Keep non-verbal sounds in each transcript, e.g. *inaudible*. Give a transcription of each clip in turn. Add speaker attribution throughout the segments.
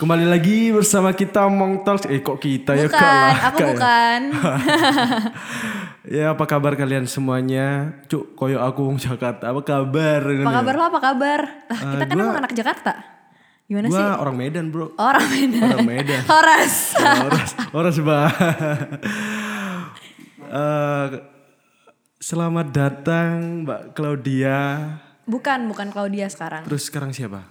Speaker 1: Kembali lagi bersama kita Mong Talks. Eh kok kita ya? Kak
Speaker 2: Bukan,
Speaker 1: lah,
Speaker 2: aku
Speaker 1: Kak ya. *laughs*
Speaker 2: bukan.
Speaker 1: Ya apa kabar kalian semuanya? Cuk, koyo aku wong Jakarta. Apa kabar?
Speaker 2: Apa kabar lo? Apa kabar? Lah, kita kan emang anak Jakarta. Gimana sih?
Speaker 1: Eh, Gua orang Medan, Bro. Oh,
Speaker 2: Orang Medan.
Speaker 1: Orang Medan.
Speaker 2: *laughs* Horas.
Speaker 1: Horas, horas bah. *laughs* Eh, selamat datang Mbak Claudia.
Speaker 2: Bukan, bukan Claudia sekarang.
Speaker 1: Terus sekarang siapa?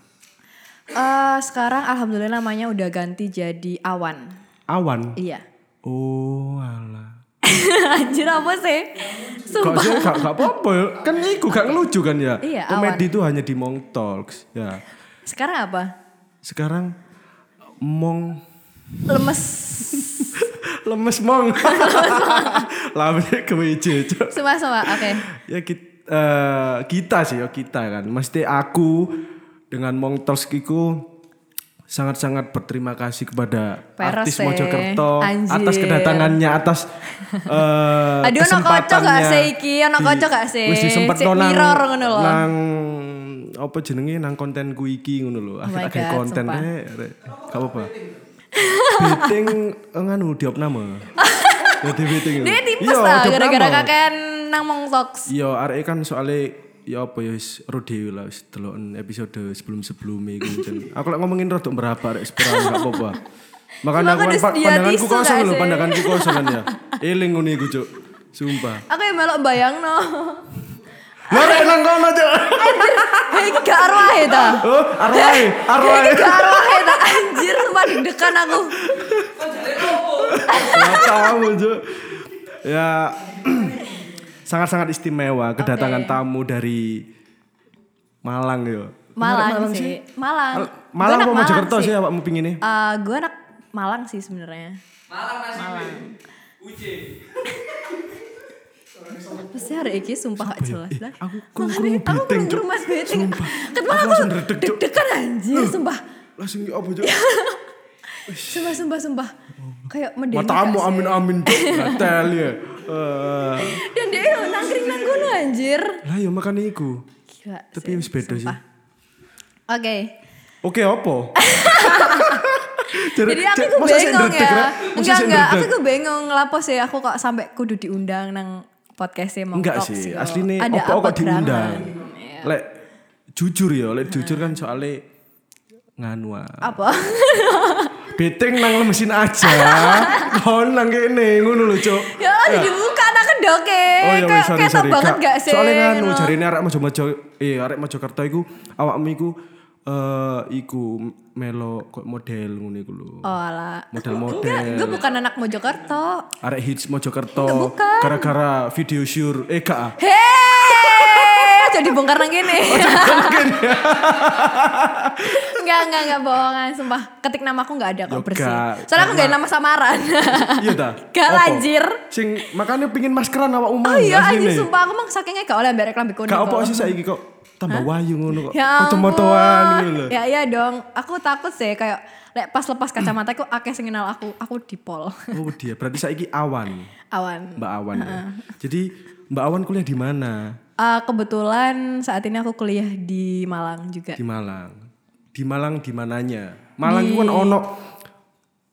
Speaker 2: Eh, sekarang alhamdulillah namanya udah ganti jadi Awan.
Speaker 1: Awan.
Speaker 2: Iya. *laughs*
Speaker 1: Oh, alah.
Speaker 2: Anjir apa sih?
Speaker 1: Kok
Speaker 2: Sumpah.
Speaker 1: sih gak, gak apa-apa ya? Kan iku gak ngelucu kan ya?
Speaker 2: Iya,
Speaker 1: Komedi itu hanya di Mong Talks. Ya.
Speaker 2: Sekarang apa?
Speaker 1: Sekarang Mong *laughs*
Speaker 2: Lemes.
Speaker 1: lemes Mong. *laughs* Lamanya kemeja. Cok.
Speaker 2: Semua-semua. Oke.
Speaker 1: ya kita, kita sih ya kita kan mesti aku dengan Mong Toskiku sangat-sangat berterima kasih kepada
Speaker 2: Peres,
Speaker 1: artis
Speaker 2: eh.
Speaker 1: Mojokerto
Speaker 2: Anjir.
Speaker 1: atas kedatangannya atas eh
Speaker 2: Aduh, ono kocok gak sih iki? Ono
Speaker 1: Di-
Speaker 2: kocok gak sih?
Speaker 1: Wis disempetno
Speaker 2: Sik
Speaker 1: nang
Speaker 2: mirror ngono lho.
Speaker 1: nang apa jenenge nang kontenku iki ngono lho.
Speaker 2: Oh my
Speaker 1: Akhir-akhir
Speaker 2: God,
Speaker 1: konten
Speaker 2: sumpah.
Speaker 1: eh, rek. Gak apa-apa. Beating eh, nganu
Speaker 2: *laughs*
Speaker 1: diopname. Jadi beating.
Speaker 2: Dia tipes
Speaker 1: Iya,
Speaker 2: lah
Speaker 1: diopname.
Speaker 2: gara-gara kakek nang mong talks.
Speaker 1: Iya, arek kan soalnya ya apa ya wis ro dhewe lah wis deloken episode sebelum-sebelumnya iku jan. Aku lek ngomongin rodok berapa arek sepira gak apa-apa. Makanya
Speaker 2: Cuma
Speaker 1: aku
Speaker 2: aku
Speaker 1: pa- pandanganku
Speaker 2: disediakan tisu
Speaker 1: kosong
Speaker 2: gak
Speaker 1: lho,
Speaker 2: sih?
Speaker 1: pandanganku kosong kan
Speaker 2: *laughs*
Speaker 1: ya. Eling ngene iku, Cuk. Sumpah.
Speaker 2: Aku yang melok bayang no. *laughs*
Speaker 1: Lah rek nang kono, Cuk.
Speaker 2: Hei, iki gak arwah ya ta?
Speaker 1: Oh,
Speaker 2: *laughs*
Speaker 1: arwai, arwai.
Speaker 2: Ini gak arwah ya tak anjir sumpah deg-degan aku
Speaker 1: *laughs* Gak tahu, Cuk. Ya *clears throat* sangat-sangat istimewa kedatangan tamu dari Malang yo.
Speaker 2: Malang, sih Malang
Speaker 1: Malang
Speaker 2: Gua anak
Speaker 1: apa Mojokerto sih awakmu pingine?
Speaker 2: Eh, gue anak Malang sih sebenarnya Malang nasi Malang Pasti hari ini sumpah gak jelas lah
Speaker 1: ya? Eh, aku
Speaker 2: Makanya
Speaker 1: kurung-kurung
Speaker 2: aku
Speaker 1: beteng,
Speaker 2: belum ke
Speaker 1: Cuk.
Speaker 2: rumah beting
Speaker 1: Sumpah.
Speaker 2: Ketemu
Speaker 1: Aku
Speaker 2: Kan aku
Speaker 1: langsung redeg, Cuk.
Speaker 2: deg-degan anjir sumpah
Speaker 1: Langsung apa, Cuk?
Speaker 2: Sumpah sumpah sumpah Kayak medeni
Speaker 1: Matamu
Speaker 2: gak sih?
Speaker 1: amin amin Cuk. Gatel ya. Eh,
Speaker 2: Dan dia yang nangkring nang kono anjir
Speaker 1: Lah ya makane iku.
Speaker 2: Gila
Speaker 1: Tapi wis beda sih.
Speaker 2: sumpah. Oke
Speaker 1: Oke, opo? Jar-
Speaker 2: *laughs* Jadi aku
Speaker 1: jar-
Speaker 2: ku
Speaker 1: masa sih
Speaker 2: bengong
Speaker 1: ndredeg, Rek?
Speaker 2: ya.
Speaker 1: Masa
Speaker 2: Enggak
Speaker 1: sih
Speaker 2: enggak, aku
Speaker 1: ndredeg?
Speaker 2: ku bengong lapo sih aku kok sampai kudu diundang nang podcastnya mau
Speaker 1: Enggak
Speaker 2: Talks
Speaker 1: sih,
Speaker 2: gitu.
Speaker 1: asline
Speaker 2: Ada
Speaker 1: opo
Speaker 2: apa
Speaker 1: kok diundang.
Speaker 2: drama?
Speaker 1: Lek jujur ya, lek jujur kan soalnya nganu ah.
Speaker 2: Apa? *laughs*
Speaker 1: Beteng nang lemesin aja. Kon nang kene ngono lho, Cuk.
Speaker 2: ya udah dibuka anak kedoke.
Speaker 1: Eh. Oh iya, weh,
Speaker 2: Eh, Kayak
Speaker 1: sorry,
Speaker 2: ketok
Speaker 1: sorry.
Speaker 2: banget
Speaker 1: Kak,
Speaker 2: gak sih?
Speaker 1: Soalnya kan
Speaker 2: ngono.
Speaker 1: jarine arek Mojokerto, eh arek Mojokerto iku awakmu iku eh iku melo kok model ngono iku lho.
Speaker 2: Oh ala.
Speaker 1: Model-model.
Speaker 2: Enggak, gue bukan anak Mojokerto.
Speaker 1: Arek hits Mojokerto
Speaker 2: Enggak, bukan.
Speaker 1: gara-gara video syur eh kak ah. *laughs*
Speaker 2: Hei, jadi bongkar nang gini.
Speaker 1: Oh, Mungkin ya.
Speaker 2: *laughs* Enggak, enggak, enggak bohongan, sumpah. Ketik nama aku enggak ada
Speaker 1: Yo,
Speaker 2: kok bersih.
Speaker 1: Kak,
Speaker 2: Soalnya aku enggak ada nama samaran. *laughs*
Speaker 1: Iya ta?
Speaker 2: Gak
Speaker 1: Apa?
Speaker 2: lanjir.
Speaker 1: Sing makanya pingin maskeran awak umum
Speaker 2: Oh iya, anjir sumpah aku mah sakingnya gak oleh ambil reklam
Speaker 1: Kak
Speaker 2: bikono.
Speaker 1: opo sih saiki kok tambah wayu ngono kok.
Speaker 2: Ya
Speaker 1: Kacamataan
Speaker 2: ampun.
Speaker 1: ngono lho.
Speaker 2: Ya iya dong. Aku takut sih kayak lek pas lepas kacamata aku akeh sing kenal aku, aku dipol. *laughs*
Speaker 1: Oh dia berarti saiki awan.
Speaker 2: Awan.
Speaker 1: Mbak Awan ya. Jadi Mbak Awan kuliah di mana?
Speaker 2: Eh, kebetulan saat ini aku kuliah di Malang juga.
Speaker 1: Di Malang. Di Malang di mananya? Malang itu kan ono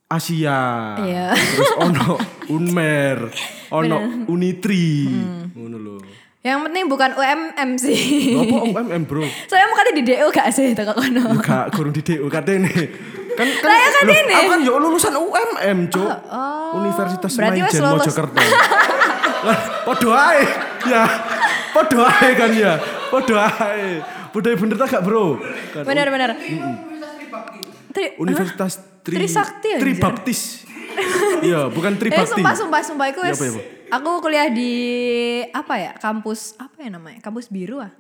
Speaker 1: Asia.
Speaker 2: Iya.
Speaker 1: Terus
Speaker 2: *laughs*
Speaker 1: ono Unmer, ono Unitri.
Speaker 2: Hmm.
Speaker 1: Ngono lho.
Speaker 2: Yang penting bukan UMM sih. *laughs*
Speaker 1: Apa UMM, Bro?
Speaker 2: Saya mau kata di DO gak sih teko kono.
Speaker 1: Yo gak kurung di DU katene. Kan kan,
Speaker 2: Lah, ya kan
Speaker 1: Loh,
Speaker 2: ini.
Speaker 1: aku kan yo lulusan UMM, Cuk. Universitas
Speaker 2: oh. berarti wes
Speaker 1: Maijen
Speaker 2: lulus.
Speaker 1: Mojokerto. Lah, Podo ae. Ya. Podo ae kan ya. Podo ae. Budaya bener ta gak, Bro? Kan.
Speaker 2: Benar-benar. Tri-
Speaker 1: Oh, Universitas Tri,
Speaker 2: Trisakti anjir.
Speaker 1: Tribaptis.
Speaker 2: *laughs*
Speaker 1: Iya, bukan
Speaker 2: Eh
Speaker 1: Tribakti.
Speaker 2: sumpah sumpah sumpah aku
Speaker 1: Ya,
Speaker 2: wes-
Speaker 1: apa, ya, apa?
Speaker 2: aku kuliah di apa ya? Kampus apa ya namanya? Kampus biru ah.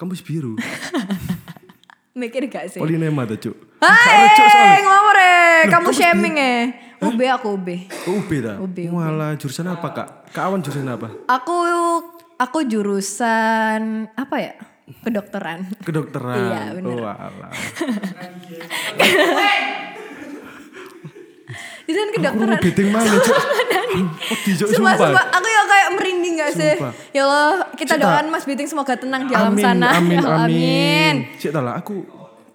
Speaker 1: Kampus biru.
Speaker 2: Mikir gak sih?
Speaker 1: Polinema tuh, Cuk. Cuk, soalnya.
Speaker 2: Hai, ngomong eh, kamu
Speaker 1: kamu
Speaker 2: shaming eh. UB aku UB.
Speaker 1: Oh, UB ta?
Speaker 2: UB.
Speaker 1: Walah, jurusan apa, Kak? Kak Awan jurusan apa?
Speaker 2: Aku aku jurusan apa ya? Kedokteran.
Speaker 1: Kedokteran.
Speaker 2: Iya, bener.
Speaker 1: Walah.
Speaker 2: Jurusan
Speaker 1: Aku mau
Speaker 2: kedokteran.
Speaker 1: dating mana,
Speaker 2: *laughs*
Speaker 1: Cuk? Wedi, Cuk,
Speaker 2: Sumpah,
Speaker 1: sumpah.
Speaker 2: sumpah, aku ya kayak merinding gak sih?
Speaker 1: Sumpah.
Speaker 2: Ya Allah, kita
Speaker 1: Cita.
Speaker 2: doakan Mas Biting semoga tenang di alam
Speaker 1: amin,
Speaker 2: sana. *laughs*
Speaker 1: Amin,
Speaker 2: Ya Allah,
Speaker 1: amin. Cik tahu lah, aku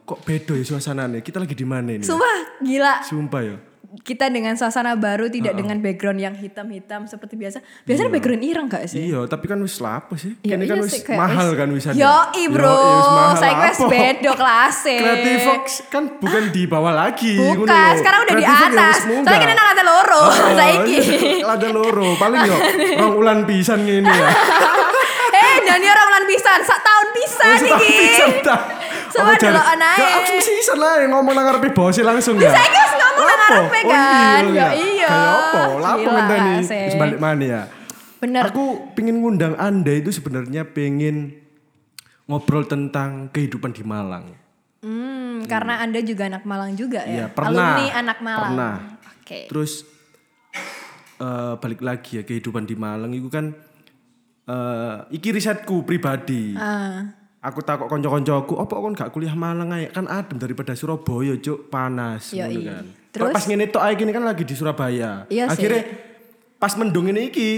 Speaker 1: kok bedo ya suasananya. Kita lagi di mana ini?
Speaker 2: Sumpah gila.
Speaker 1: Sumpah ya.
Speaker 2: Kita dengan suasana baru tidak dengan background yang hitam-hitam seperti biasa. Biasanya background ireng gak sih?
Speaker 1: Iya, tapi kan wis lapo sih?
Speaker 2: Ya
Speaker 1: Kene
Speaker 2: iya
Speaker 1: kan wis
Speaker 2: sih, kayak
Speaker 1: mahal
Speaker 2: wis-
Speaker 1: kan wisan.
Speaker 2: Yoi bro, saya wis bedo kelas
Speaker 1: Creative Fox kan bukan di bawah lagi. ngono
Speaker 2: Bukan,
Speaker 1: lho.
Speaker 2: sekarang udah di
Speaker 1: Creative Fox ya
Speaker 2: atas.
Speaker 1: wis
Speaker 2: Soalnya
Speaker 1: munggah.
Speaker 2: kita nang lantai loro
Speaker 1: Oh,
Speaker 2: *laughs* saiki.
Speaker 1: iya, Ada loro, paling yo rong ulan pisan ngene
Speaker 2: *laughs*
Speaker 1: ya.
Speaker 2: Eh, Dani orang ulan pisan, sak tahun pisan
Speaker 1: Wis tak
Speaker 2: iki.
Speaker 1: pisan ta.
Speaker 2: Soalnya
Speaker 1: Apa jare-
Speaker 2: delokan ae.
Speaker 1: Gak, Aku sisan lah yang ngomong nang ngarepe bose langsung ya.
Speaker 2: Saiki wis ngomong nang
Speaker 1: Apa?
Speaker 2: ngarepe
Speaker 1: Oh,
Speaker 2: kan. Ya iya.
Speaker 1: Kayak apa? Lapo
Speaker 2: Gila,
Speaker 1: ngenteni
Speaker 2: sih.
Speaker 1: wis balik mana ya?
Speaker 2: Bener.
Speaker 1: Aku pingin ngundang Anda itu sebenarnya pengen ngobrol tentang kehidupan di Malang.
Speaker 2: Hmm, karena Anda juga anak Malang juga ya.
Speaker 1: Iya, pernah.
Speaker 2: Alumni anak Malang.
Speaker 1: Pernah.
Speaker 2: Oke.
Speaker 1: Terus eh, balik lagi ya kehidupan di Malang itu kan eh iki risetku pribadi.
Speaker 2: Ah,
Speaker 1: Aku takok kanca-kancaku, "Apa kon gak kuliah Malang ae? Kan adem daripada Surabaya, Cuk, panas."
Speaker 2: Yoi.
Speaker 1: ngono kan.
Speaker 2: Terus?
Speaker 1: Terus pas ngene tok ae gini kan lagi di Surabaya.
Speaker 2: Iya sih.
Speaker 1: Akhirnya pas mendung ini iki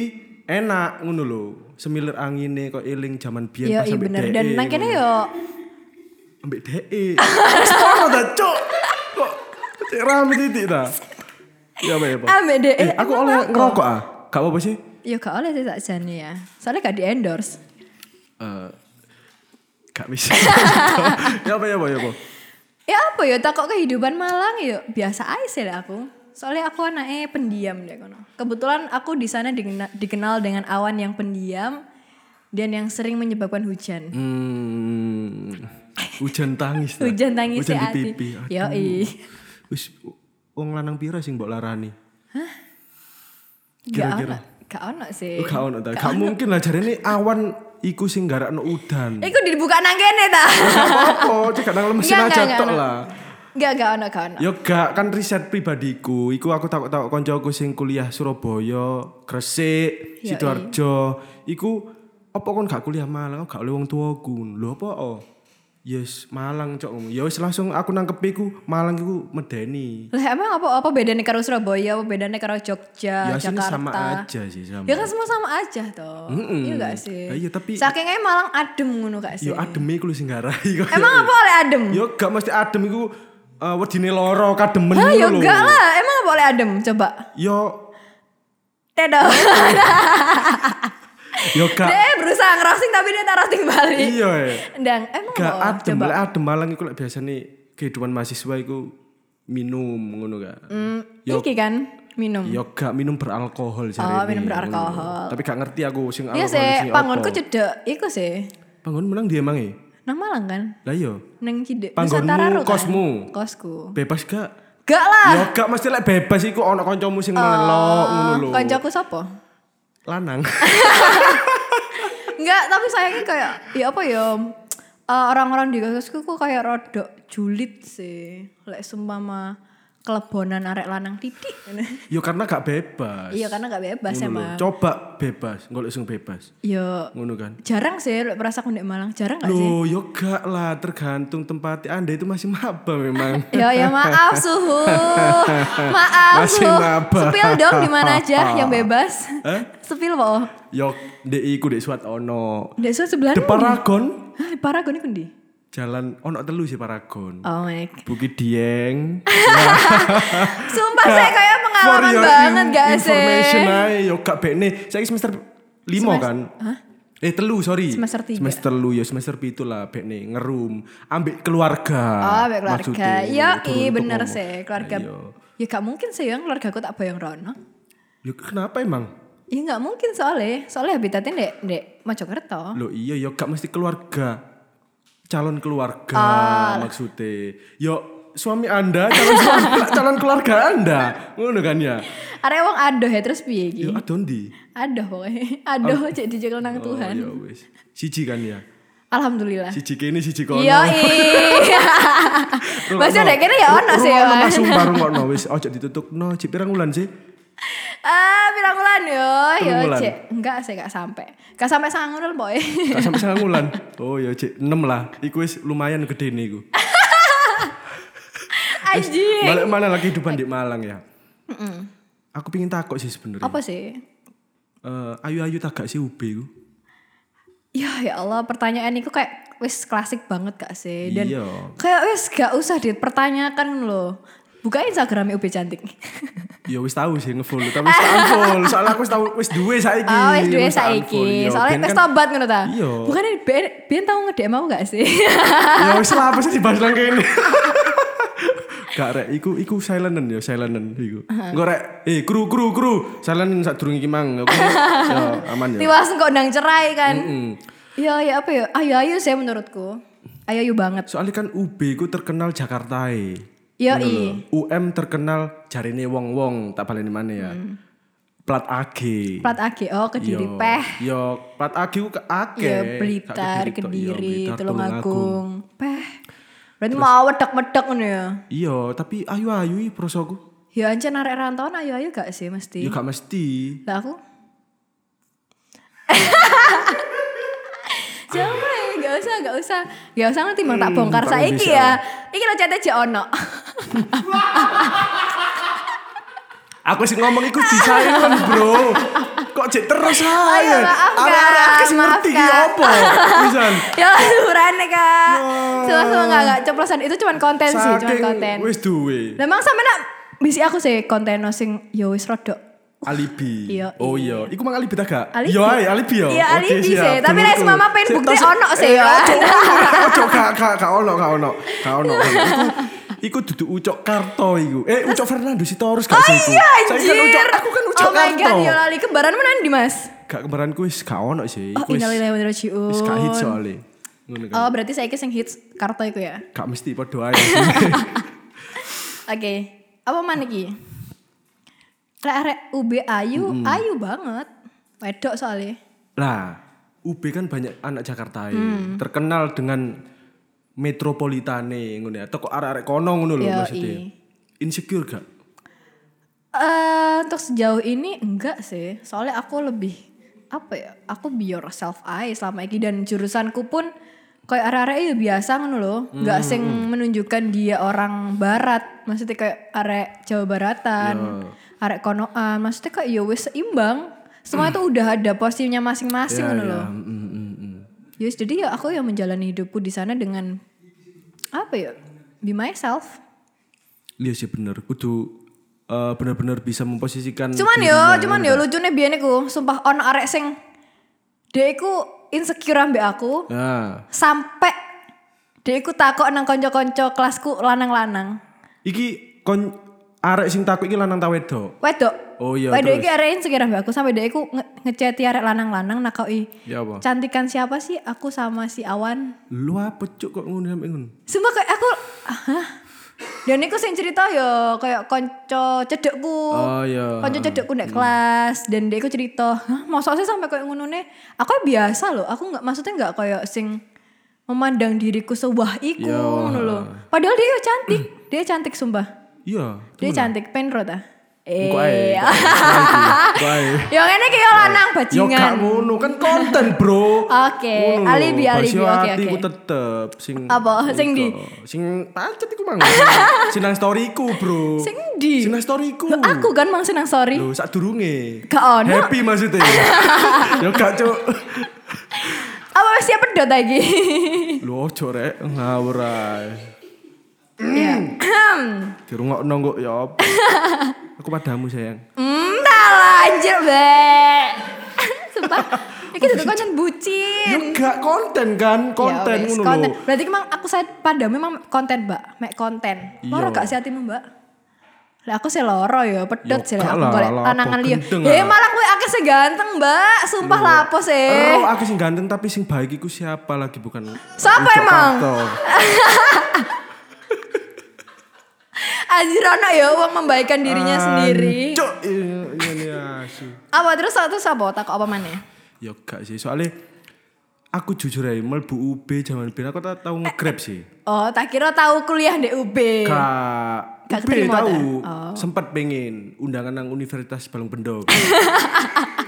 Speaker 1: enak ngono lho. Semilir angine kok eling jaman biyen
Speaker 2: Iya,
Speaker 1: pas
Speaker 2: iya
Speaker 1: ambek
Speaker 2: bener.
Speaker 1: DE,
Speaker 2: Dan nang
Speaker 1: ngono.
Speaker 2: kene yo
Speaker 1: ambek DE. Wis ono ta, Cuk. Kok cek rame titik ta? Ya apa ya, Pak?
Speaker 2: Ambek DE,
Speaker 1: Eh, aku
Speaker 2: emang
Speaker 1: oleh
Speaker 2: apa?
Speaker 1: ngerokok ah. Gak apa-apa sih.
Speaker 2: yo gak oleh sih sakjane ya. Soalnya gak di-endorse.
Speaker 1: Eh gak bisa. *laughs* ya apa ya, Pak? Ya apa?
Speaker 2: Ya apa ya takok kehidupan Malang ya biasa aja sih lah aku. Soalnya aku anaknya pendiam deh kono. Kebetulan aku di sana digena- dikenal dengan awan yang pendiam dan yang sering menyebabkan hujan.
Speaker 1: Hmm. Hujan tangis. ta?
Speaker 2: Hujan tangis
Speaker 1: Iya. Hujan
Speaker 2: ya
Speaker 1: di
Speaker 2: ati.
Speaker 1: pipi.
Speaker 2: Yo
Speaker 1: Wis wong lanang pira sing mbok larani?
Speaker 2: Gak
Speaker 1: Kira-kira. Oh,
Speaker 2: ono, gak ono sih.
Speaker 1: Gak ono ta. Gak mungkin lah jarene awan iku sing garakno udan.
Speaker 2: Iku dibuka nang kene
Speaker 1: *laughs*
Speaker 2: ta.
Speaker 1: Gak apa-apa, cek gak nang mesin
Speaker 2: Enggak,
Speaker 1: aja
Speaker 2: enggak,
Speaker 1: tok
Speaker 2: enggak.
Speaker 1: lah.
Speaker 2: Gak gak ono gak ono.
Speaker 1: Ya gak kan riset pribadiku. Iku aku takut takut koncoku sing kuliah Surabaya, Gresik,
Speaker 2: Yoi.
Speaker 1: Sidoarjo. Iku apa kon gak kuliah Malang, gak oleh wong tuaku. Lho apa? oh? Yes, Malang cok. ngomong. Ya wis langsung aku nangkep iku Malang iku medeni.
Speaker 2: Lah emang apa apa bedanya karo Surabaya, apa bedanya karo
Speaker 1: Ya
Speaker 2: Jogja,
Speaker 1: sini
Speaker 2: Eh, Jakarta?
Speaker 1: sama aja sih sama.
Speaker 2: Ya kan semua sama aja toh. Iya gak sih?
Speaker 1: Lah iya, tapi-
Speaker 2: saking ae Malang adem ngono gak sih?
Speaker 1: Yo ademe iku lho sing garai *laughs* kok.
Speaker 2: Emang apa oleh adem?
Speaker 1: Yo gak mesti adem iku eh, wedine loro kademen
Speaker 2: Hah, ya
Speaker 1: iku
Speaker 2: enggak lah. Emang apa oleh adem? Coba.
Speaker 1: Yo
Speaker 2: Tedo.
Speaker 1: yo gak
Speaker 2: *laughs* dia berusaha ngerosting tapi dia tak roasting balik.
Speaker 1: iya. eh.
Speaker 2: Ndang, emang
Speaker 1: gak
Speaker 2: apa?
Speaker 1: adem lek adem malang iku lek biasane kehidupan mahasiswa iku minum ngono kan yo Iya,
Speaker 2: Iki kan minum.
Speaker 1: yo gak minum beralkohol jarene
Speaker 2: Oh, minum
Speaker 1: ngono.
Speaker 2: beralkohol.
Speaker 1: tapi gak ngerti aku sing
Speaker 2: Iya
Speaker 1: alkohol
Speaker 2: sih,
Speaker 1: sing
Speaker 2: panggonku
Speaker 1: apa.
Speaker 2: cedek. Iku sih.
Speaker 1: panggon menang dia emang e
Speaker 2: Nang Malang kan?
Speaker 1: lah iya. yo
Speaker 2: Nang Cide.
Speaker 1: Panggonmu,
Speaker 2: Nusantara Ro, kan?
Speaker 1: kosmu.
Speaker 2: Kosku.
Speaker 1: bebas gak
Speaker 2: Gak lah.
Speaker 1: yo gak mesti lek bebas iku ono kancamu
Speaker 2: Oh,
Speaker 1: sing melelok ngono lho
Speaker 2: Kancaku sapa? *laughs*
Speaker 1: lanang
Speaker 2: Enggak, tapi sayangnya kayak ya apa ya? eh, orang-orang di kosku kok kayak rodok julid sih. Lek sumpama kelebonan arek lanang titik.
Speaker 1: yo Ya karena gak bebas
Speaker 2: Iya karena gak bebas
Speaker 1: Ngono lho.
Speaker 2: emang.
Speaker 1: coba bebas golek sing bebas
Speaker 2: Ya
Speaker 1: ngono kan
Speaker 2: jarang sih lek perasa aku ndek Malang, jarang gak sih?
Speaker 1: Loh, yo gak lah, tergantung tempat Anda itu masih maba
Speaker 2: *laughs*
Speaker 1: memang.
Speaker 2: Ya ya maaf
Speaker 1: *laughs*
Speaker 2: suhu. Maaf
Speaker 1: Masih Eh?
Speaker 2: suhu.
Speaker 1: maba.
Speaker 2: Sepil dong di mana
Speaker 1: *laughs*
Speaker 2: aja yang bebas. Sepil po.
Speaker 1: Yo, dek iku dek suat ono.
Speaker 2: Ndek suhu sebelah.
Speaker 1: The Paragon,
Speaker 2: Hah, Paragon iku ndi?
Speaker 1: jalan ono telu sih Paragon.
Speaker 2: Oh my god.
Speaker 1: Bukit Dieng.
Speaker 2: Sumpah saya kayak
Speaker 1: For
Speaker 2: pengalaman
Speaker 1: your
Speaker 2: banget
Speaker 1: in-
Speaker 2: gak
Speaker 1: Information
Speaker 2: sih? Oh,
Speaker 1: ae, yo gak bekne. Saiki semester 5 kan.
Speaker 2: Hah?
Speaker 1: Eh telu sorry
Speaker 2: Semester tiga.
Speaker 1: Semester telu yo semester pitu lah bekne ngerum ambek keluarga
Speaker 2: Oh, ambek keluarga.
Speaker 1: Ah, maksudnya.
Speaker 2: Iya,
Speaker 1: Turun
Speaker 2: iya
Speaker 1: untuk
Speaker 2: bener
Speaker 1: ngomong.
Speaker 2: sih, keluarga.
Speaker 1: Ayo.
Speaker 2: Ya gak mungkin sih yang keluarga aku tak bayang rono.
Speaker 1: Yo kenapa emang
Speaker 2: Ya gak mungkin soalnya, soalnya habitatnya ndek ndek Mojokerto.
Speaker 1: Loh iya yo gak mesti keluarga. Calon keluarga
Speaker 2: Ah.
Speaker 1: maksudnya. Yo suami Anda calon
Speaker 2: *laughs*
Speaker 1: calon keluarga Anda. Ngono kan ya.
Speaker 2: Arek wong adoh ya terus piye iki?
Speaker 1: Yo adondi.
Speaker 2: Adoh pokoknya. Adoh cek dijegal nang Tuhan.
Speaker 1: Oh, ya wis. Siji kan ya.
Speaker 2: Alhamdulillah.
Speaker 1: Siji kene siji kono.
Speaker 2: Iya. *laughs* Masih ada kene ya ono sih ya.
Speaker 1: Ono
Speaker 2: Mas.
Speaker 1: sumpah rungokno wis ojo ditutupno. Cik pirang wulan sih?
Speaker 2: Ah, pirang wulan yo, yo
Speaker 1: Telung wulan.
Speaker 2: cek. Enggak sih gak sampai. Gak sampai sangun boy. *laughs*
Speaker 1: Gak sampe sangang wulan. Oh ya Cik, 6 lah. Iku wis lumayan gede nih
Speaker 2: *laughs*
Speaker 1: iku.
Speaker 2: Anjing.
Speaker 1: Balik mana lagi kehidupan di Malang ya? Aku pingin takut sih sebenarnya.
Speaker 2: Apa sih?
Speaker 1: Eh, ayu-ayu tak gak sih UB ku?
Speaker 2: Ya ya Allah pertanyaan itu kayak wis klasik banget gak sih dan
Speaker 1: Iya.
Speaker 2: kayak wis gak usah dipertanyakan loh. Buka Instagram UB cantik. *laughs*
Speaker 1: Ya wis tahu sih ngefollow tapi wis tak unfollow. Soalnya aku wis tahu wis duwe saiki.
Speaker 2: oh wis duwe
Speaker 1: tak unfollow.
Speaker 2: saiki.
Speaker 1: Iya,
Speaker 2: Soalnya
Speaker 1: ben
Speaker 2: wis
Speaker 1: kan-
Speaker 2: tobat ngono ta.
Speaker 1: Iya.
Speaker 2: Bukannya ben, ben tau nge-DM aku gak sih? *laughs*
Speaker 1: Ya wis lah apa sih dibahas nang kene. *laughs* Gak rek, iku iku silenten ya, silenten iku. Engko rek, eh kru kru kru, silenten sadurung iki mang. Aku- Ya aman ya.
Speaker 2: Tiwas kok ndang cerai kan.
Speaker 1: Mm.
Speaker 2: Ya ya apa ya? Ayo ayo sih menurutku. Ayo ayo banget.
Speaker 1: Soalnya kan UB ku terkenal Jakarta
Speaker 2: Yo i.
Speaker 1: UM terkenal jarine wong-wong, tak baleni mana ya. Plat AG.
Speaker 2: Hmm. Plat AG oh Kediri Peh.
Speaker 1: Yo, plat AG ku ke akeh.
Speaker 2: Ya
Speaker 1: Iya. Gak
Speaker 2: Blitar,
Speaker 1: tok. Iya,
Speaker 2: Kediri,
Speaker 1: Blitar,
Speaker 2: Tulungagung, Peh. Berarti mau wedek-wedek ngono ya.
Speaker 1: Iya, tapi ayu-ayu iki prosoku.
Speaker 2: Ya ancen arek rantauan ayo ayo gak sih mesti.
Speaker 1: Ya gak mesti.
Speaker 2: Lah aku. Coba ya, gak usah, gak usah. Gak usah nanti bang tak bongkar
Speaker 1: tak
Speaker 2: saiki
Speaker 1: Hmm, bisa.
Speaker 2: ya. Iki lo chat aja ono.
Speaker 1: Aku sih ngomong iku
Speaker 2: *laughs*
Speaker 1: disayangan bro. Kok cek terus
Speaker 2: Oh
Speaker 1: aja.
Speaker 2: ya, maaf, Kak.
Speaker 1: Arek-arek aku sih ngerti ki
Speaker 2: Maaf, Kak. *laughs*
Speaker 1: apa. Pisan.
Speaker 2: ya surane kak.
Speaker 1: Wah.
Speaker 2: Sumpah sumpah gak, gak ceplosan. Itu cuman konten sih, cuman
Speaker 1: Ya. Saking
Speaker 2: konten.
Speaker 1: wis duwe
Speaker 2: Lah emang sama nak bisi aku sih konten no sing ya wis rodok.
Speaker 1: alibi.
Speaker 2: Iya,
Speaker 1: Oh iya, iku mang alibi ta gak?
Speaker 2: Alibi.
Speaker 1: Yo ae alibi yo.
Speaker 2: Iya,
Speaker 1: Oke,
Speaker 2: alibi
Speaker 1: siap.
Speaker 2: sih. Tapi
Speaker 1: Tunggu,
Speaker 2: nek
Speaker 1: tunggu.
Speaker 2: mama pengen
Speaker 1: Sik,
Speaker 2: bukti
Speaker 1: tas-
Speaker 2: ono sih
Speaker 1: eh,
Speaker 2: ya.
Speaker 1: Ojo ojo,
Speaker 2: *laughs*
Speaker 1: ojo gak gak gak ono gak ono. Gak ono. Iku iku duduk ucok Karto iku. Eh ucok Fernando Sitorus gak sih iku.
Speaker 2: Iya
Speaker 1: Saiki kan
Speaker 2: anjir.
Speaker 1: ucok Oh aku kan ucok
Speaker 2: Oh my god,
Speaker 1: Karto.
Speaker 2: ya lali kembaran menan di mas.
Speaker 1: Gak kemaranku wis gak ono sih.
Speaker 2: Oh
Speaker 1: Iku wis
Speaker 2: innalillahi wa inna
Speaker 1: wis gak hit
Speaker 2: ilaihi
Speaker 1: soalnya. Ngono kan.
Speaker 2: Oh berarti saya sing hits kartu itu ya.
Speaker 1: Gak mesti padha ae
Speaker 2: *laughs*
Speaker 1: sih.
Speaker 2: Oke. Apa mana iki? Rek rek UB ayu, ayu banget. Wedok soalnya.
Speaker 1: Lah, UB kan banyak anak Jakarta ya.
Speaker 2: Hmm.
Speaker 1: terkenal dengan metropolitane ngono ya. Teko arek-arek kono ngono lho
Speaker 2: Yoi.
Speaker 1: maksudnya. Insecure gak?
Speaker 2: Eh untuk sejauh ini enggak sih. Soalnya aku lebih apa ya? Aku be yourself aja selama ini dan jurusanku pun kayak arek-arek ya biasa ngono loh. Enggak sing menunjukkan dia orang barat. Maksudnya kayak arek Jawa Baratan, arek konoan. Maksudnya kayak ya wis seimbang. Semua itu udah ada posisinya masing-masing ngono loh.
Speaker 1: Mm, mm, mm, mm.
Speaker 2: Yes, jadi ya aku yang menjalani hidupku di sana dengan apa ya? Be myself.
Speaker 1: Iya sih bener, kudu eh, bener-bener bisa memposisikan
Speaker 2: Cuman yo,
Speaker 1: dirinya.
Speaker 2: cuman yo lucunya biyen iku, sumpah ono arek sing dhek iku insecure ambek aku
Speaker 1: Nah,
Speaker 2: sampai dhek iku takok nang kanca-kanca kelasku lanang-lanang.
Speaker 1: iki kon arek sing takut iki lanang ta wedok.
Speaker 2: Wedok.
Speaker 1: Oh iya, terus?
Speaker 2: Wedok iki arek insecure ambek aku sampai dhek iku nge- ngeceti arek lanang-lanang nakoki.
Speaker 1: Ya apa?
Speaker 2: Cantikan siapa sih aku sama si Awan?
Speaker 1: Lu apa cuk kok ngono sampe ngono?
Speaker 2: Sumpah kayak aku Hah? Dan iku sing cerita yo kayak konco cedekku.
Speaker 1: Oh iya.
Speaker 2: Konco cedekku nek kelas dan dia iku cerita, "Hah, mosok sih sampai kayak ngono ne? Aku ya biasa loh, aku nggak maksudnya nggak kayak sing memandang diriku sewah iku
Speaker 1: Ya,
Speaker 2: ngono loh. Padahal dia yo cantik, dia cantik sumpah.
Speaker 1: Iya.
Speaker 2: Dia cantik penro ta?
Speaker 1: Engko ae.
Speaker 2: Eh.
Speaker 1: Engko ae.
Speaker 2: Yo ngene iki yo lanang
Speaker 1: Yo
Speaker 2: *laughs* bajingan.
Speaker 1: gak ngono kan konten, Bro. Ngono
Speaker 2: Oke,
Speaker 1: lho,
Speaker 2: alibi, alibi,
Speaker 1: Basio
Speaker 2: oke,
Speaker 1: ati
Speaker 2: oke.
Speaker 1: ku tetep sing
Speaker 2: Apa? Sing
Speaker 1: iku.
Speaker 2: di?
Speaker 1: sing pancet iku *laughs* mang. sing nang storyku, Bro.
Speaker 2: Sing di?
Speaker 1: Sing nang storyku.
Speaker 2: Loh, aku kan mang senang sorry.
Speaker 1: Loh, sadurunge.
Speaker 2: Gak ono.
Speaker 1: Happy maksudnya.
Speaker 2: *laughs*
Speaker 1: Yo gak cuk.
Speaker 2: Apa wis siap pedot lagi?
Speaker 1: Lho ojo rek ngawur ae. Hmm.
Speaker 2: Ya.
Speaker 1: Dirungokno kok ya
Speaker 2: *laughs*
Speaker 1: apa. Aku padamu sayang.
Speaker 2: Hmm, talah anjir, Mbak. *laughs* Sumpah, iki dudu konten bucin.
Speaker 1: Yo gak konten kan, konten
Speaker 2: Ya wes,
Speaker 1: ngono
Speaker 2: konten.
Speaker 1: lho.
Speaker 2: Berarti emang aku saya pada memang konten, Mbak. Mek konten.
Speaker 1: Iya.
Speaker 2: Loro gak sih hatimu, Mbak? Lah aku sih loro ya, pedot
Speaker 1: Ya
Speaker 2: sih lah
Speaker 1: gak
Speaker 2: aku
Speaker 1: lah,
Speaker 2: golek
Speaker 1: lah,
Speaker 2: lanangan
Speaker 1: apa
Speaker 2: liya.
Speaker 1: gendeng
Speaker 2: Ya
Speaker 1: lah.
Speaker 2: malah kowe akeh sing ganteng, Mbak. Sumpah lah apa sih?
Speaker 1: Ero aku sing ganteng tapi sing baik iku siapa lagi bukan
Speaker 2: Siapa
Speaker 1: Ucok
Speaker 2: emang?
Speaker 1: Karto.
Speaker 2: Anjir ono ya wong membaikan dirinya sendiri.
Speaker 1: Kan Cuk, iya, iya, iya, asu.
Speaker 2: Apa terus satu sapa tak apa maneh?
Speaker 1: Ya gak sih, soalnya aku jujur aja mlebu UB zaman biyen aku tak tau nge-grab sih.
Speaker 2: Oh, tak kira tahu kuliah di UB.
Speaker 1: Kak
Speaker 2: Eh, Gak
Speaker 1: UB
Speaker 2: keterima, Oh.
Speaker 1: tahu
Speaker 2: ta?
Speaker 1: sempat pengen undangan nang Universitas
Speaker 2: *laughs*
Speaker 1: Balongbendo.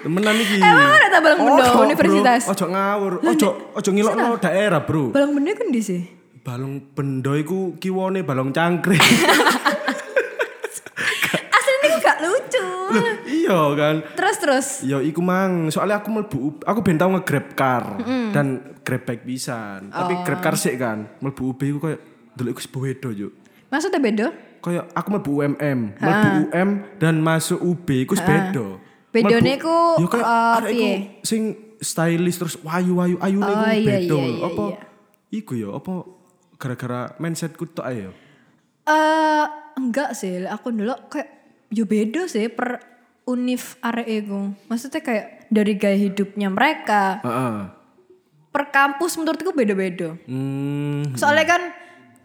Speaker 1: Temenan iki.
Speaker 2: Emang ada ta Balongbendo,
Speaker 1: Ojo, bro.
Speaker 2: universitas?
Speaker 1: Ojo ngawur, ojo ojo ngilokno daerah, Bro.
Speaker 2: Balang bener kan di sih?
Speaker 1: Balongbendo iku kiwone
Speaker 2: *laughs*
Speaker 1: balong cangkring.
Speaker 2: Aslinya gak lucu.
Speaker 1: Loh, iya iya kan
Speaker 2: Terus terus.
Speaker 1: Ya iku mang, soalnya aku mlebu UB aku ben tau nge-grab car dan grab bike pisan. Tapi
Speaker 2: Oh.
Speaker 1: grab car sik kan, mlebu UB iku koyo ndelok iku sebuah wedo yo.
Speaker 2: Maksudnya bedo?
Speaker 1: Koyo aku mlebu UMM, mlebu
Speaker 2: Ah.
Speaker 1: UM dan masuk UB iku sebedo.
Speaker 2: Bedone
Speaker 1: Mlebu-
Speaker 2: iku,
Speaker 1: ya koyo
Speaker 2: eh,
Speaker 1: arek iku
Speaker 2: piye?
Speaker 1: sing stylish terus wayu-wayu ayune
Speaker 2: Oh,
Speaker 1: iku
Speaker 2: iya, iya,
Speaker 1: bedo.
Speaker 2: iya,
Speaker 1: Apa
Speaker 2: iya.
Speaker 1: iku yo apa gara-gara mindsetku tok ae yo.
Speaker 2: Eh enggak sih, lek aku ndelok kayak yo bedo sih per univ arek iku. Maksudnya kayak dari gaya hidupnya mereka,
Speaker 1: Heeh.
Speaker 2: per kampus menurutku beda-beda.
Speaker 1: Hmm.
Speaker 2: Soalnya kan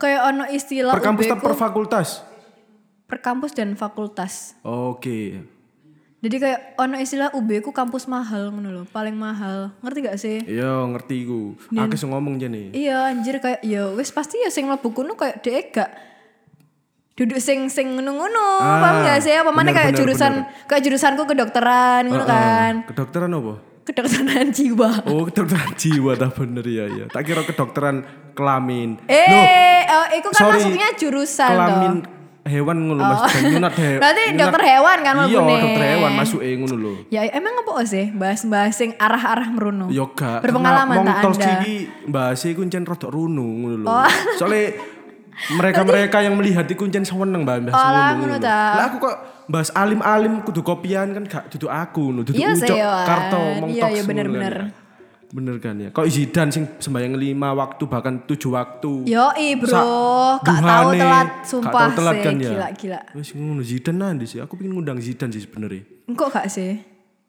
Speaker 2: kayak ono istilah
Speaker 1: Per kampus
Speaker 2: UB
Speaker 1: ta
Speaker 2: ku
Speaker 1: per fakultas?
Speaker 2: per kampus dan fakultas.
Speaker 1: Oke.
Speaker 2: Jadi kayak ono istilah UB ku kampus mahal ngono lho, paling mahal. Ngerti gak sih?
Speaker 1: Iya ngerti iku. Aku sing ngomong jane.
Speaker 2: Iya anjir kayak ya wis pasti ya sing mlebu kono kayak dhek gak duduk sing sing ngono-ngono.
Speaker 1: Ah,
Speaker 2: paham gak sih? Apa mana
Speaker 1: bener,
Speaker 2: kayak
Speaker 1: bener,
Speaker 2: jurusan kayak jurusanku kedokteran ngono kan.
Speaker 1: Ah, Kedokteran apa?
Speaker 2: Kedokteran jiwa.
Speaker 1: Oh, kedokteran *laughs* jiwa dah bener ya ya. Tak kira kedokteran kelamin.
Speaker 2: Eh,
Speaker 1: Loh,
Speaker 2: eh, itu kan
Speaker 1: sorry,
Speaker 2: masuknya jurusan
Speaker 1: kelamin
Speaker 2: toh. Oh.
Speaker 1: hewan ngono Mas. Dan
Speaker 2: *laughs*
Speaker 1: nyunat he-
Speaker 2: Berarti
Speaker 1: nyunat-
Speaker 2: dokter hewan kan
Speaker 1: Iya,
Speaker 2: mlebune.
Speaker 1: dokter hewan masuk e ngono lho.
Speaker 2: Ya emang apa sih bahas-bahas sing arah-arah meruno?
Speaker 1: Yoga.
Speaker 2: Berpengalaman tak Anda? Oh.
Speaker 1: Anda. bahasa iku ncen rada runu ngono lho. Soale mereka-mereka yang melihat iku ncen seneng bahas ngono.
Speaker 2: Alah, ngono
Speaker 1: lho.
Speaker 2: ta.
Speaker 1: Lah aku kok bahas alim-alim kudu kopian kan gak duduk aku ngono, duduk
Speaker 2: Iya,
Speaker 1: ucok
Speaker 2: seyoan.
Speaker 1: karto mong
Speaker 2: Iya,
Speaker 1: toks ngono
Speaker 2: iya,
Speaker 1: kan
Speaker 2: bener-bener.
Speaker 1: ya. Bener kan ya. Kok Zidane sing sembahyang lima waktu bahkan tujuh waktu.
Speaker 2: Yoi
Speaker 1: Sa-
Speaker 2: Iya, bro, gak
Speaker 1: duhane,
Speaker 2: tahu telat
Speaker 1: gak
Speaker 2: sumpah
Speaker 1: tahu telat
Speaker 2: sih,
Speaker 1: kan ya.
Speaker 2: gila-gila.
Speaker 1: Wis ngono Zidane nanti sih. Aku pengen ngundang Zidane sih sebenarnya.
Speaker 2: Engkau gak sih?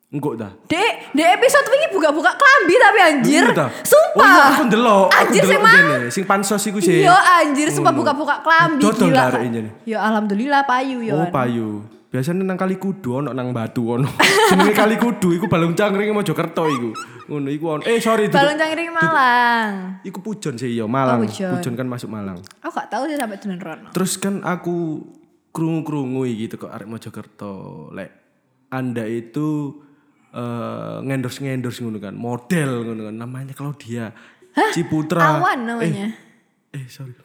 Speaker 1: Engkok dah.
Speaker 2: Dek, dek episode ini buka-buka kelambi tapi anjir.
Speaker 1: Iya, ta. Oh, iya,
Speaker 2: Sumpah.
Speaker 1: aku ndelok, aku
Speaker 2: Anjir sih Iya.
Speaker 1: ndelok
Speaker 2: mang.
Speaker 1: jene, sing pansos iku sih.
Speaker 2: Yo anjir sumpah
Speaker 1: Ngono.
Speaker 2: buka-buka kelambi
Speaker 1: Dodol
Speaker 2: gila.
Speaker 1: arek ini.
Speaker 2: Yo alhamdulillah payu yo.
Speaker 1: Oh, payu. Biasanya nang kali kudu ono nang batu ono. *laughs* Jenenge kali kudu iku balung cangkring e Mojokerto iku. Ngono iku ono. Eh sorry duduk.
Speaker 2: Balon cangkring Malang.
Speaker 1: Iku pujon sih iya Malang.
Speaker 2: Oh, Pujon.
Speaker 1: kan masuk Malang.
Speaker 2: Aku gak tahu sih sampai Dunan Rono.
Speaker 1: Terus kan aku krungu-krungu gitu kok arek Mojokerto. Lek Anda itu eh ngendorse-ngendorse ngono kan, model ngono kan. Namanya Claudia Ciputra.
Speaker 2: Awan namanya.
Speaker 1: Eh
Speaker 2: *laughs*
Speaker 1: sorry.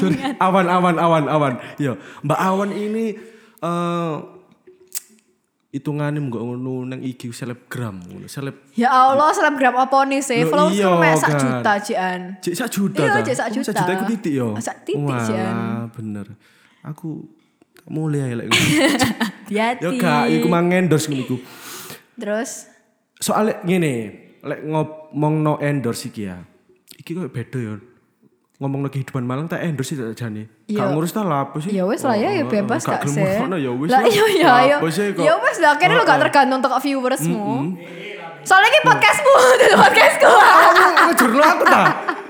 Speaker 1: sorry. Awan awan awan awan. Yo, Mbak Awan ini eh hitungannya nggak ngono nang IG selebgram ngono. Seleb
Speaker 2: Ya Allah, selebgram apa nih sih?
Speaker 1: Loh,
Speaker 2: Follows
Speaker 1: iya,
Speaker 2: kan mek sak
Speaker 1: kan.
Speaker 2: juta, Cian.
Speaker 1: cek sak juta
Speaker 2: Iya,
Speaker 1: ta?
Speaker 2: cek sak
Speaker 1: Oh,
Speaker 2: juta.
Speaker 1: Sak juta iku titik yo.
Speaker 2: Sak titik,
Speaker 1: Walah,
Speaker 2: Jan.
Speaker 1: bener. Aku tak mulai lek.
Speaker 2: *laughs*
Speaker 1: ngono.
Speaker 2: Hati-hati.
Speaker 1: Yo gak iku mang endorse ngono iku.
Speaker 2: Terus
Speaker 1: Soale ngene, lek ngomongno endorse iki ya. Iki kok beda yo. Ngomongno kehidupan Malang tak endorse sih tak jane. Gak
Speaker 2: Yo.
Speaker 1: ngurus ta lah apa sih?
Speaker 2: Iya. Ya wes lah ya, ya
Speaker 1: Oh,
Speaker 2: bebas
Speaker 1: gak
Speaker 2: gak
Speaker 1: gelem
Speaker 2: sih.
Speaker 1: ngono, ya wes
Speaker 2: Lah iya ya ya.
Speaker 1: Apa sih kok?
Speaker 2: Ya wes lah akhirnya lo gak tergantung toko viewersmu. Soalnya
Speaker 1: Mm.
Speaker 2: ini podcastmu, *laughs* itu podcastku.
Speaker 1: Oh, *laughs* Aku jurno aku
Speaker 2: *laughs*
Speaker 1: ta.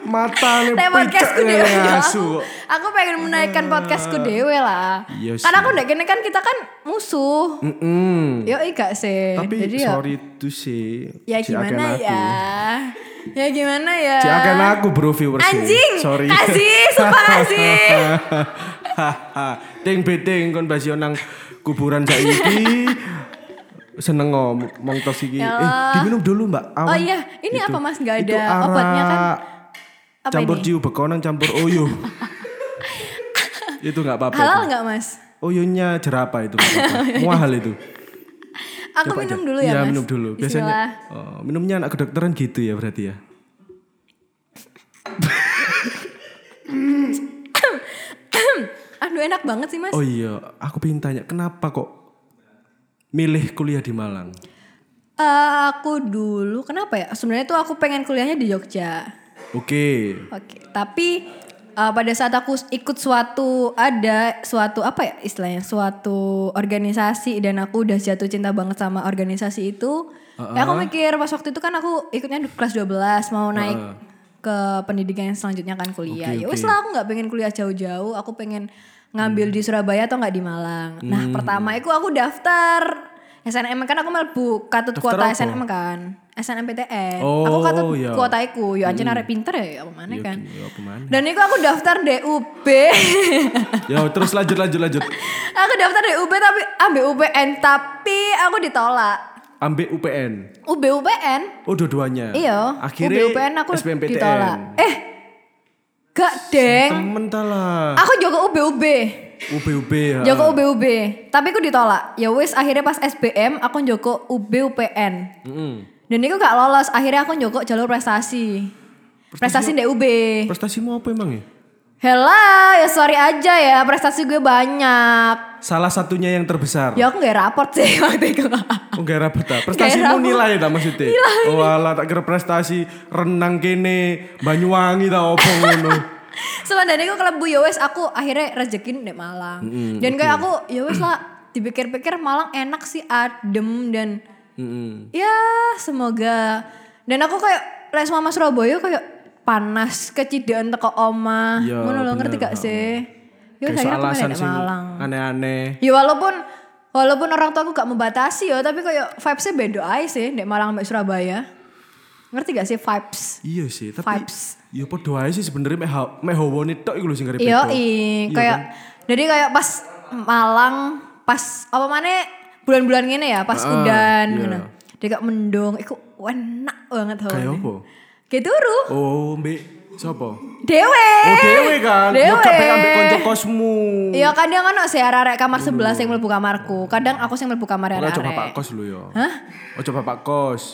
Speaker 1: Matane
Speaker 2: Nek podcastku
Speaker 1: picek
Speaker 2: dewe.
Speaker 1: ngene
Speaker 2: ya.
Speaker 1: *laughs* asu kok.
Speaker 2: Aku pengen menaikkan podcastku dewe lah.
Speaker 1: Iya
Speaker 2: Karena
Speaker 1: sih.
Speaker 2: aku ndek kene kan kita kan musuh.
Speaker 1: Mm-mm.
Speaker 2: Yo gak sih.
Speaker 1: Mm. Tapi
Speaker 2: Jadi ya
Speaker 1: sorry to say.
Speaker 2: ya
Speaker 1: cik akan
Speaker 2: gimana
Speaker 1: aku.
Speaker 2: ya? Ya gimana ya?
Speaker 1: Cik akan aku bro viewers.
Speaker 2: Anjing,
Speaker 1: Sorry.
Speaker 2: kasih, sumpah
Speaker 1: *laughs*
Speaker 2: kasih.
Speaker 1: Ting beting kon basio nang kuburan saiki. Seneng oh, ngomong mong tos iki.
Speaker 2: Ya
Speaker 1: Eh,
Speaker 2: Allah.
Speaker 1: diminum dulu, Mbak. Awan.
Speaker 2: Oh iya, ini apa, Mas? Nggak
Speaker 1: Gitu. Itu
Speaker 2: ada obatnya, kan? Apa
Speaker 1: campur
Speaker 2: ini?
Speaker 1: ciu bekonang campur
Speaker 2: *laughs*
Speaker 1: oyo. itu nggak apa-apa.
Speaker 2: Halal
Speaker 1: itu.
Speaker 2: gak mas?
Speaker 1: Oyonya jerapa itu. nggak
Speaker 2: *laughs*
Speaker 1: apa-apa. Muahal itu.
Speaker 2: Aku
Speaker 1: Coba
Speaker 2: minum
Speaker 1: aja.
Speaker 2: dulu ya,
Speaker 1: Iya,
Speaker 2: mas.
Speaker 1: minum dulu. Biasanya
Speaker 2: Bismillah. *clears throat*
Speaker 1: oh, minumnya anak kedokteran gitu ya berarti ya.
Speaker 2: Aduh enak banget sih mas.
Speaker 1: Oh iya, aku pengen tanya kenapa kok milih kuliah di Malang?
Speaker 2: Eh, aku dulu kenapa ya? Sebenarnya tuh aku pengen kuliahnya di Jogja.
Speaker 1: Oke.
Speaker 2: Oke. Tapi eh, pada saat aku ikut suatu ada suatu apa ya istilahnya suatu organisasi dan aku udah jatuh cinta banget sama organisasi itu. Ya aku mikir pas waktu itu kan aku ikutnya di kelas 12 mau naik ke pendidikan yang selanjutnya kan
Speaker 1: Oke,
Speaker 2: kuliah. ya
Speaker 1: oke. Hmm.
Speaker 2: wis lah aku nggak pengen kuliah jauh-jauh, aku pengen ngambil di Surabaya atau nggak di Malang. Nah, pertama itu aku daftar SNM kan aku mlebu katut
Speaker 1: Daftar
Speaker 2: kuota
Speaker 1: apa?
Speaker 2: SNM kan. SNMPTN. aku
Speaker 1: Oh,
Speaker 2: katut
Speaker 1: iya.
Speaker 2: kuota iku, yo anjen arek pinter ya apa mana
Speaker 1: Ya,
Speaker 2: kan.
Speaker 1: ya, kemana?
Speaker 2: Dan itu aku daftar DUB.
Speaker 1: Ya terus lanjut lanjut lanjut.
Speaker 2: *laughs* aku daftar DUB tapi ambil UPN tapi aku ditolak.
Speaker 1: Ambek UPN.
Speaker 2: UB UPN?
Speaker 1: Oh dua-duanya.
Speaker 2: Iya.
Speaker 1: Akhirnya
Speaker 2: UB UPN aku
Speaker 1: SBMPTN.
Speaker 2: ditolak. Eh. Gak deng.
Speaker 1: Temen ta lah.
Speaker 2: Aku juga UB UB.
Speaker 1: UB-UB ya.
Speaker 2: Joko UB-UB. Tapi aku ditolak. Ya wis akhirnya pas SBM aku njoko UB-UPN.
Speaker 1: Mm-mm.
Speaker 2: Dan aku gak lolos. Akhirnya aku njoko jalur prestasi. Prestasi ndek UB.
Speaker 1: Prestasimu apa emang ya?
Speaker 2: Hela, ya sorry aja ya. Prestasi gue banyak.
Speaker 1: Salah satunya yang terbesar.
Speaker 2: Ya aku gak raport sih *laughs* waktu itu.
Speaker 1: Oh, gak rapet ta. Prestasimu
Speaker 2: rapet.
Speaker 1: nilai ta maksudnya? Oh ala tak kira prestasi renang kene, Banyuwangi ta opo
Speaker 2: *laughs*
Speaker 1: ngono.
Speaker 2: Sebenarnya aku kelebu ya wis aku akhirnya rezekin ndek Malang. dan kayak aku ya wis lah dipikir-pikir Malang enak sih adem dan
Speaker 1: Mm-mm.
Speaker 2: ya semoga dan aku kayak les mama Surabaya kayak panas kecidaan teko oma
Speaker 1: Iya,
Speaker 2: ngono lho
Speaker 1: bener,
Speaker 2: ngerti gak
Speaker 1: ha.
Speaker 2: sih ya
Speaker 1: Kayak
Speaker 2: saya kira
Speaker 1: alasan
Speaker 2: kemarin
Speaker 1: sing
Speaker 2: Malang
Speaker 1: aneh-aneh.
Speaker 2: ya walaupun walaupun orang tua aku gak membatasi ya tapi kayak vibesnya beda aja sih dek Malang sama Surabaya ngerti gak sih vibes
Speaker 1: Iya sih, tapi
Speaker 2: Vibes.
Speaker 1: Ya padha ae sih sebenarnya meh ha- meh hawane tok iku lho sing ngarep.
Speaker 2: Iya,
Speaker 1: beda.
Speaker 2: i kayak
Speaker 1: kan?
Speaker 2: jadi kayak pas Malang pas apa mana bulan-bulan gini ya pas
Speaker 1: Ah,
Speaker 2: udan
Speaker 1: iya.
Speaker 2: ngono. Dia kayak mendung, iku enak banget hawa.
Speaker 1: Kayak apa?
Speaker 2: Kayak turu.
Speaker 1: Oh, Mbak, siapa?
Speaker 2: Dewe.
Speaker 1: Oh, dewe kan.
Speaker 2: Dewe.
Speaker 1: Yo kabeh ambek kanca kosmu.
Speaker 2: Iya, kadang kan sih arek kamar sebelah yang mlebu kamarku. Kadang aku sing mlebu kamar
Speaker 1: Ora coba Pak
Speaker 2: arek-arek.
Speaker 1: Kos lho ya.
Speaker 2: Iya, Hah?
Speaker 1: Ojo Pak Kos.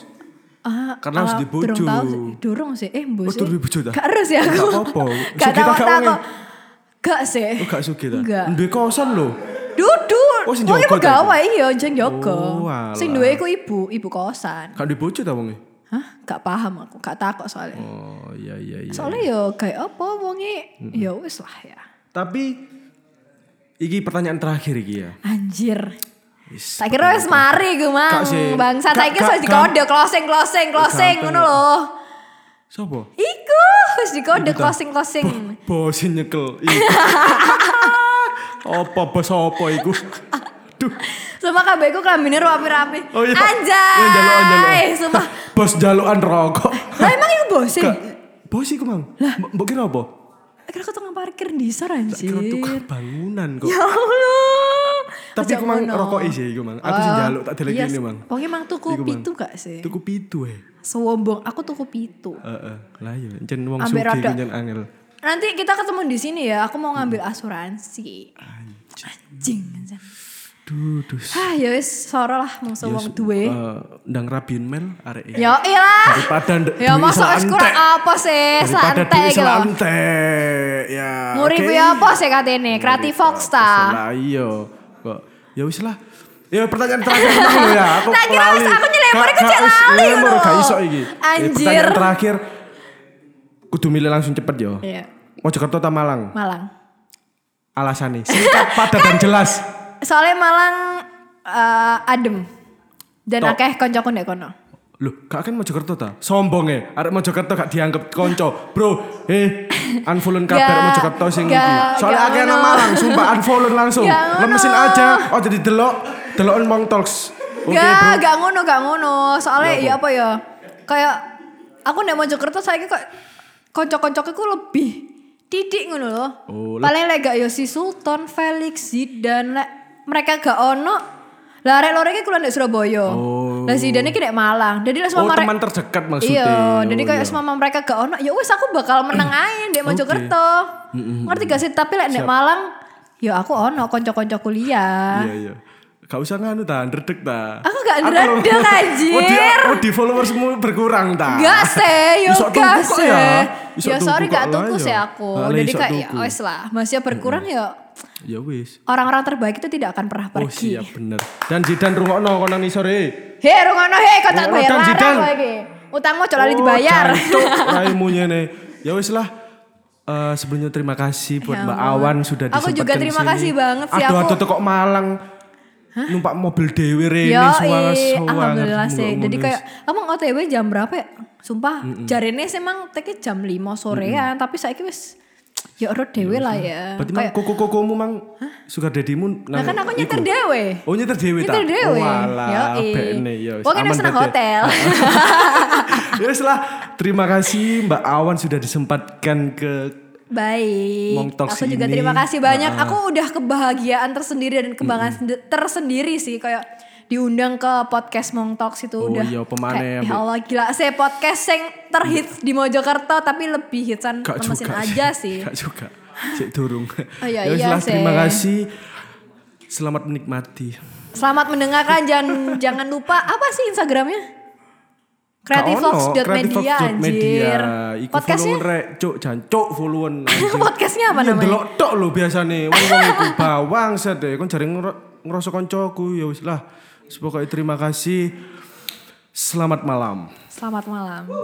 Speaker 2: Ah,
Speaker 1: Karena harus
Speaker 2: ah,
Speaker 1: dibojo.
Speaker 2: durung tahu sih. Durung sih. Eh, mbok
Speaker 1: Oh,
Speaker 2: sih.
Speaker 1: durung dibojo dah.
Speaker 2: Gak harus ya aku.
Speaker 1: Gak apa-apa. Sugih tak
Speaker 2: *laughs* Gak tahu tak
Speaker 1: kawange.
Speaker 2: kok. Gak sih.
Speaker 1: Oh, gak sugih ta?
Speaker 2: Enggak.
Speaker 1: Duwe kosan lho.
Speaker 2: Duduk.
Speaker 1: Oh, sing
Speaker 2: Oh, iya
Speaker 1: jaga ta
Speaker 2: pegawai iya, jeng jaga.
Speaker 1: Oh, alah.
Speaker 2: Sing duwe iku ibu, ibu kosan.
Speaker 1: Gak duwe bojo ta wonge?
Speaker 2: Hah? Gak paham aku, gak takok soalnya.
Speaker 1: Oh, iya iya iya.
Speaker 2: Soalnya yo kayak apa wonge?
Speaker 1: Hmm.
Speaker 2: Ya wis lah ya.
Speaker 1: Tapi iki pertanyaan terakhir iki ya.
Speaker 2: Anjir.
Speaker 1: Wis.
Speaker 2: Tak kira wis mari gue mang.
Speaker 1: Gak sih.
Speaker 2: Bangsa
Speaker 1: Gak-
Speaker 2: saiki
Speaker 1: gak-
Speaker 2: wis dikode closing closing closing
Speaker 1: Gampang ya.
Speaker 2: ngono
Speaker 1: kok.
Speaker 2: lho.
Speaker 1: Sopo?
Speaker 2: Iku wis dikode
Speaker 1: Iku ta.
Speaker 2: closing closing.
Speaker 1: Bosin nyekel.
Speaker 2: *laughs*
Speaker 1: Iya. Apa bos apa iku? Duh.
Speaker 2: Sumpah kabeh iku klambine rapi-rapi.
Speaker 1: Oh iya. Iya, jalukan,
Speaker 2: Anjay.
Speaker 1: jalukan.
Speaker 2: Sumpah.
Speaker 1: Bos jalukan rokok.
Speaker 2: Lah emang iku bosen.
Speaker 1: Gak. Bos iku, Mang. Mbok mbok kira apa?
Speaker 2: Kira aku tukang parkir di sor anjir.
Speaker 1: Kira tukang bangunan kok.
Speaker 2: Ya Allah.
Speaker 1: Tapi
Speaker 2: Ojok
Speaker 1: aku mang
Speaker 2: ngono.
Speaker 1: rokok sih aku mang. Aku sih
Speaker 2: Oh,
Speaker 1: njaluk tak delek
Speaker 2: iya,
Speaker 1: ini mang.
Speaker 2: Pokoknya mang tuku
Speaker 1: Iku, Mang.
Speaker 2: pitu gak sih?
Speaker 1: Tuku pitu eh.
Speaker 2: Sewombong, aku tuku pitu.
Speaker 1: Heeh. Lah yo encen wong
Speaker 2: Ambek
Speaker 1: sugih
Speaker 2: rada.
Speaker 1: ku encen angel.
Speaker 2: Nanti kita ketemu di sini ya. Aku mau
Speaker 1: Hmm.
Speaker 2: ngambil asuransi. Anjing. anjing.
Speaker 1: Duh, duh. s-
Speaker 2: Hah, ya wis soro lah mung sewong duwe.
Speaker 1: eh, ndang rabin mel arek iki.
Speaker 2: Ya ilah.
Speaker 1: Daripada ndek
Speaker 2: Ya
Speaker 1: duit
Speaker 2: masa wis
Speaker 1: selantek.
Speaker 2: kurang apa sih?
Speaker 1: Daripada
Speaker 2: Santai
Speaker 1: duit
Speaker 2: gitu.
Speaker 1: selantek. Ya.
Speaker 2: Nguripi
Speaker 1: oke. Iya,
Speaker 2: apa sih katene? Kreatif Fox ta.
Speaker 1: Lah iya. Kok ya wis lah. Ya pertanyaan terakhir
Speaker 2: *laughs*
Speaker 1: temen lo ya. Aku
Speaker 2: Tak kira wis aku nyelempar,
Speaker 1: Gak-
Speaker 2: aku
Speaker 1: gak
Speaker 2: cek
Speaker 1: wis
Speaker 2: lali
Speaker 1: nyelempar,
Speaker 2: ngono.
Speaker 1: gak iso iki. Ya,
Speaker 2: Anjir.
Speaker 1: Pertanyaan terakhir. Kudu milih langsung cepet yo.
Speaker 2: Iya.
Speaker 1: Mojokerto ta Malang?
Speaker 2: Malang.
Speaker 1: Alasannya singkat, *laughs* padat dan jelas.
Speaker 2: Soalnya Malang eh, adem. Dan
Speaker 1: Tok.
Speaker 2: akeh koncoku ndek kono.
Speaker 1: Loh, gak kan Mojokerto ta? Sombong e. Arek Mojokerto gak dianggap konco. Bro, eh unfollow kabar
Speaker 2: Gak-
Speaker 1: Mojokerto sing
Speaker 2: gak-
Speaker 1: iki.
Speaker 2: gak
Speaker 1: Soalnya akeh nang
Speaker 2: ngono.
Speaker 1: Malang, sumpah unfollow langsung.
Speaker 2: Gak ngono.
Speaker 1: Lemesin aja. Oh jadi delok, delokan Mong Talks. Oke, bro.
Speaker 2: Gak, gak ngono, gak ngono. Soalnya ya apa ya? Kayak aku nek Mojokerto saiki kok kanca-kancaku ku lebih titik ngono loh.
Speaker 1: Oh, lah.
Speaker 2: Paling lek gak ya si Sultan, Felix, Zidane lek mereka gak ono. Lah arek loro iki kulo ndek Surabaya.
Speaker 1: Oh.
Speaker 2: Lah Zidane iki ndek Malang. Jadi lah
Speaker 1: Oh
Speaker 2: semama
Speaker 1: teman terdekat maksudnya.
Speaker 2: Iya, jadi
Speaker 1: Oh,
Speaker 2: kayak
Speaker 1: iya.
Speaker 2: semama mereka gak ono, ya wes aku bakal menang aja ndek Mojokerto. Ngerti gak sih? Tapi lek ndek Malang, ya aku ono kanca-kanca kuliah.
Speaker 1: Iya iya. Gak usah nganu ta, ndredeg ta.
Speaker 2: Ah. Aku gak
Speaker 1: Atau-
Speaker 2: ndredeg,
Speaker 1: *laughs*
Speaker 2: anjir.
Speaker 1: Oh di, oh di followersmu berkurang ta.
Speaker 2: Gak
Speaker 1: *laughs*
Speaker 2: sih, yo
Speaker 1: Iso tuku
Speaker 2: gak
Speaker 1: kok
Speaker 2: sih.
Speaker 1: ya. Iso
Speaker 2: Ya
Speaker 1: tuku
Speaker 2: sorry
Speaker 1: kok
Speaker 2: gak
Speaker 1: lah
Speaker 2: tuku
Speaker 1: ya.
Speaker 2: sih aku.
Speaker 1: Ah, lah,
Speaker 2: Jadi
Speaker 1: iso
Speaker 2: kayak ya
Speaker 1: tuku.
Speaker 2: wes lah, masih berkurang ya
Speaker 1: Ya wis.
Speaker 2: orang-orang terbaik itu tidak akan pernah
Speaker 1: Oh
Speaker 2: pergi.
Speaker 1: siap bener. Dan Zidan rungokno kono nang isor e.
Speaker 2: Hei, rungono hei, kau tak
Speaker 1: Rungono,
Speaker 2: bayar
Speaker 1: Tan,
Speaker 2: larang
Speaker 1: Zidane.
Speaker 2: kok iki. Utangmu coba
Speaker 1: Oh,
Speaker 2: dibayar. *laughs*
Speaker 1: jancuk, Raimu nyene. Ya wis lah. Eh, sebelumnya terima kasih buat
Speaker 2: Ya
Speaker 1: Mbak
Speaker 2: ampun.
Speaker 1: Awan sudah
Speaker 2: Aku
Speaker 1: disempatkan
Speaker 2: juga terima
Speaker 1: sini.
Speaker 2: kasih banget sih,
Speaker 1: Aduh,
Speaker 2: aku-
Speaker 1: aduh kok Malang. Numpak mobil dewe rene
Speaker 2: Yo,
Speaker 1: suwangas
Speaker 2: alhamdulillah sih. Jadi kayak kamu OTW jam berapa ya? Sumpah, jarene sih emang teki jam 5 sorean, tapi saiki wis ya ora dhewe lah ya.
Speaker 1: Iya, Berarti mang
Speaker 2: Kayak
Speaker 1: koko-kokomu mang sugar daddy-mu
Speaker 2: nah
Speaker 1: nang
Speaker 2: kan aku nyetir
Speaker 1: iku.
Speaker 2: dhewe.
Speaker 1: Oh nyetir dewe ta?
Speaker 2: Nyetir dhewe.
Speaker 1: Walah,
Speaker 2: Yoi.
Speaker 1: bene ya. wis,
Speaker 2: Pokoknya
Speaker 1: aman
Speaker 2: nek senang
Speaker 1: berarti ya.
Speaker 2: hotel.
Speaker 1: *laughs* Ya wis lah, terima kasih Mbak Awan sudah disempatkan ke
Speaker 2: Baik.
Speaker 1: Mong Talks
Speaker 2: aku juga
Speaker 1: ini,
Speaker 2: terima kasih banyak. Aku udah kebahagiaan tersendiri dan kebanggaan sendi- tersendiri sih kayak diundang ke podcast Mong Talks itu
Speaker 1: Oh
Speaker 2: udah
Speaker 1: iya, apa maneh,
Speaker 2: kayak, ya
Speaker 1: Mbak?"
Speaker 2: Allah gila saya podcast yang terhits di Mojokerto tapi lebih hitsan
Speaker 1: Kak
Speaker 2: lemesin
Speaker 1: juga
Speaker 2: aja sih
Speaker 1: Kak juga. Cek durung.
Speaker 2: Oh iya,
Speaker 1: Ya wis
Speaker 2: iya,
Speaker 1: lah, terima
Speaker 2: Sek.
Speaker 1: kasih. Selamat menikmati.
Speaker 2: Selamat mendengarkan jangan jangan lupa apa sih Instagramnya?
Speaker 1: Kaono,
Speaker 2: Creativevox.media
Speaker 1: creativevox.media.
Speaker 2: anjir.
Speaker 1: Iku
Speaker 2: Podcastnya
Speaker 1: followan rek, cuk, jancuk
Speaker 2: *laughs*
Speaker 1: followan.
Speaker 2: podcastnya apa
Speaker 1: Ya
Speaker 2: namanya?
Speaker 1: delok tok lho biasane wong-wong iku bawang set e. Kon jare ngro- ngerasa kancaku ya wis lah. Wis Pokoknya terima kasih. Selamat malam.
Speaker 2: Selamat malam.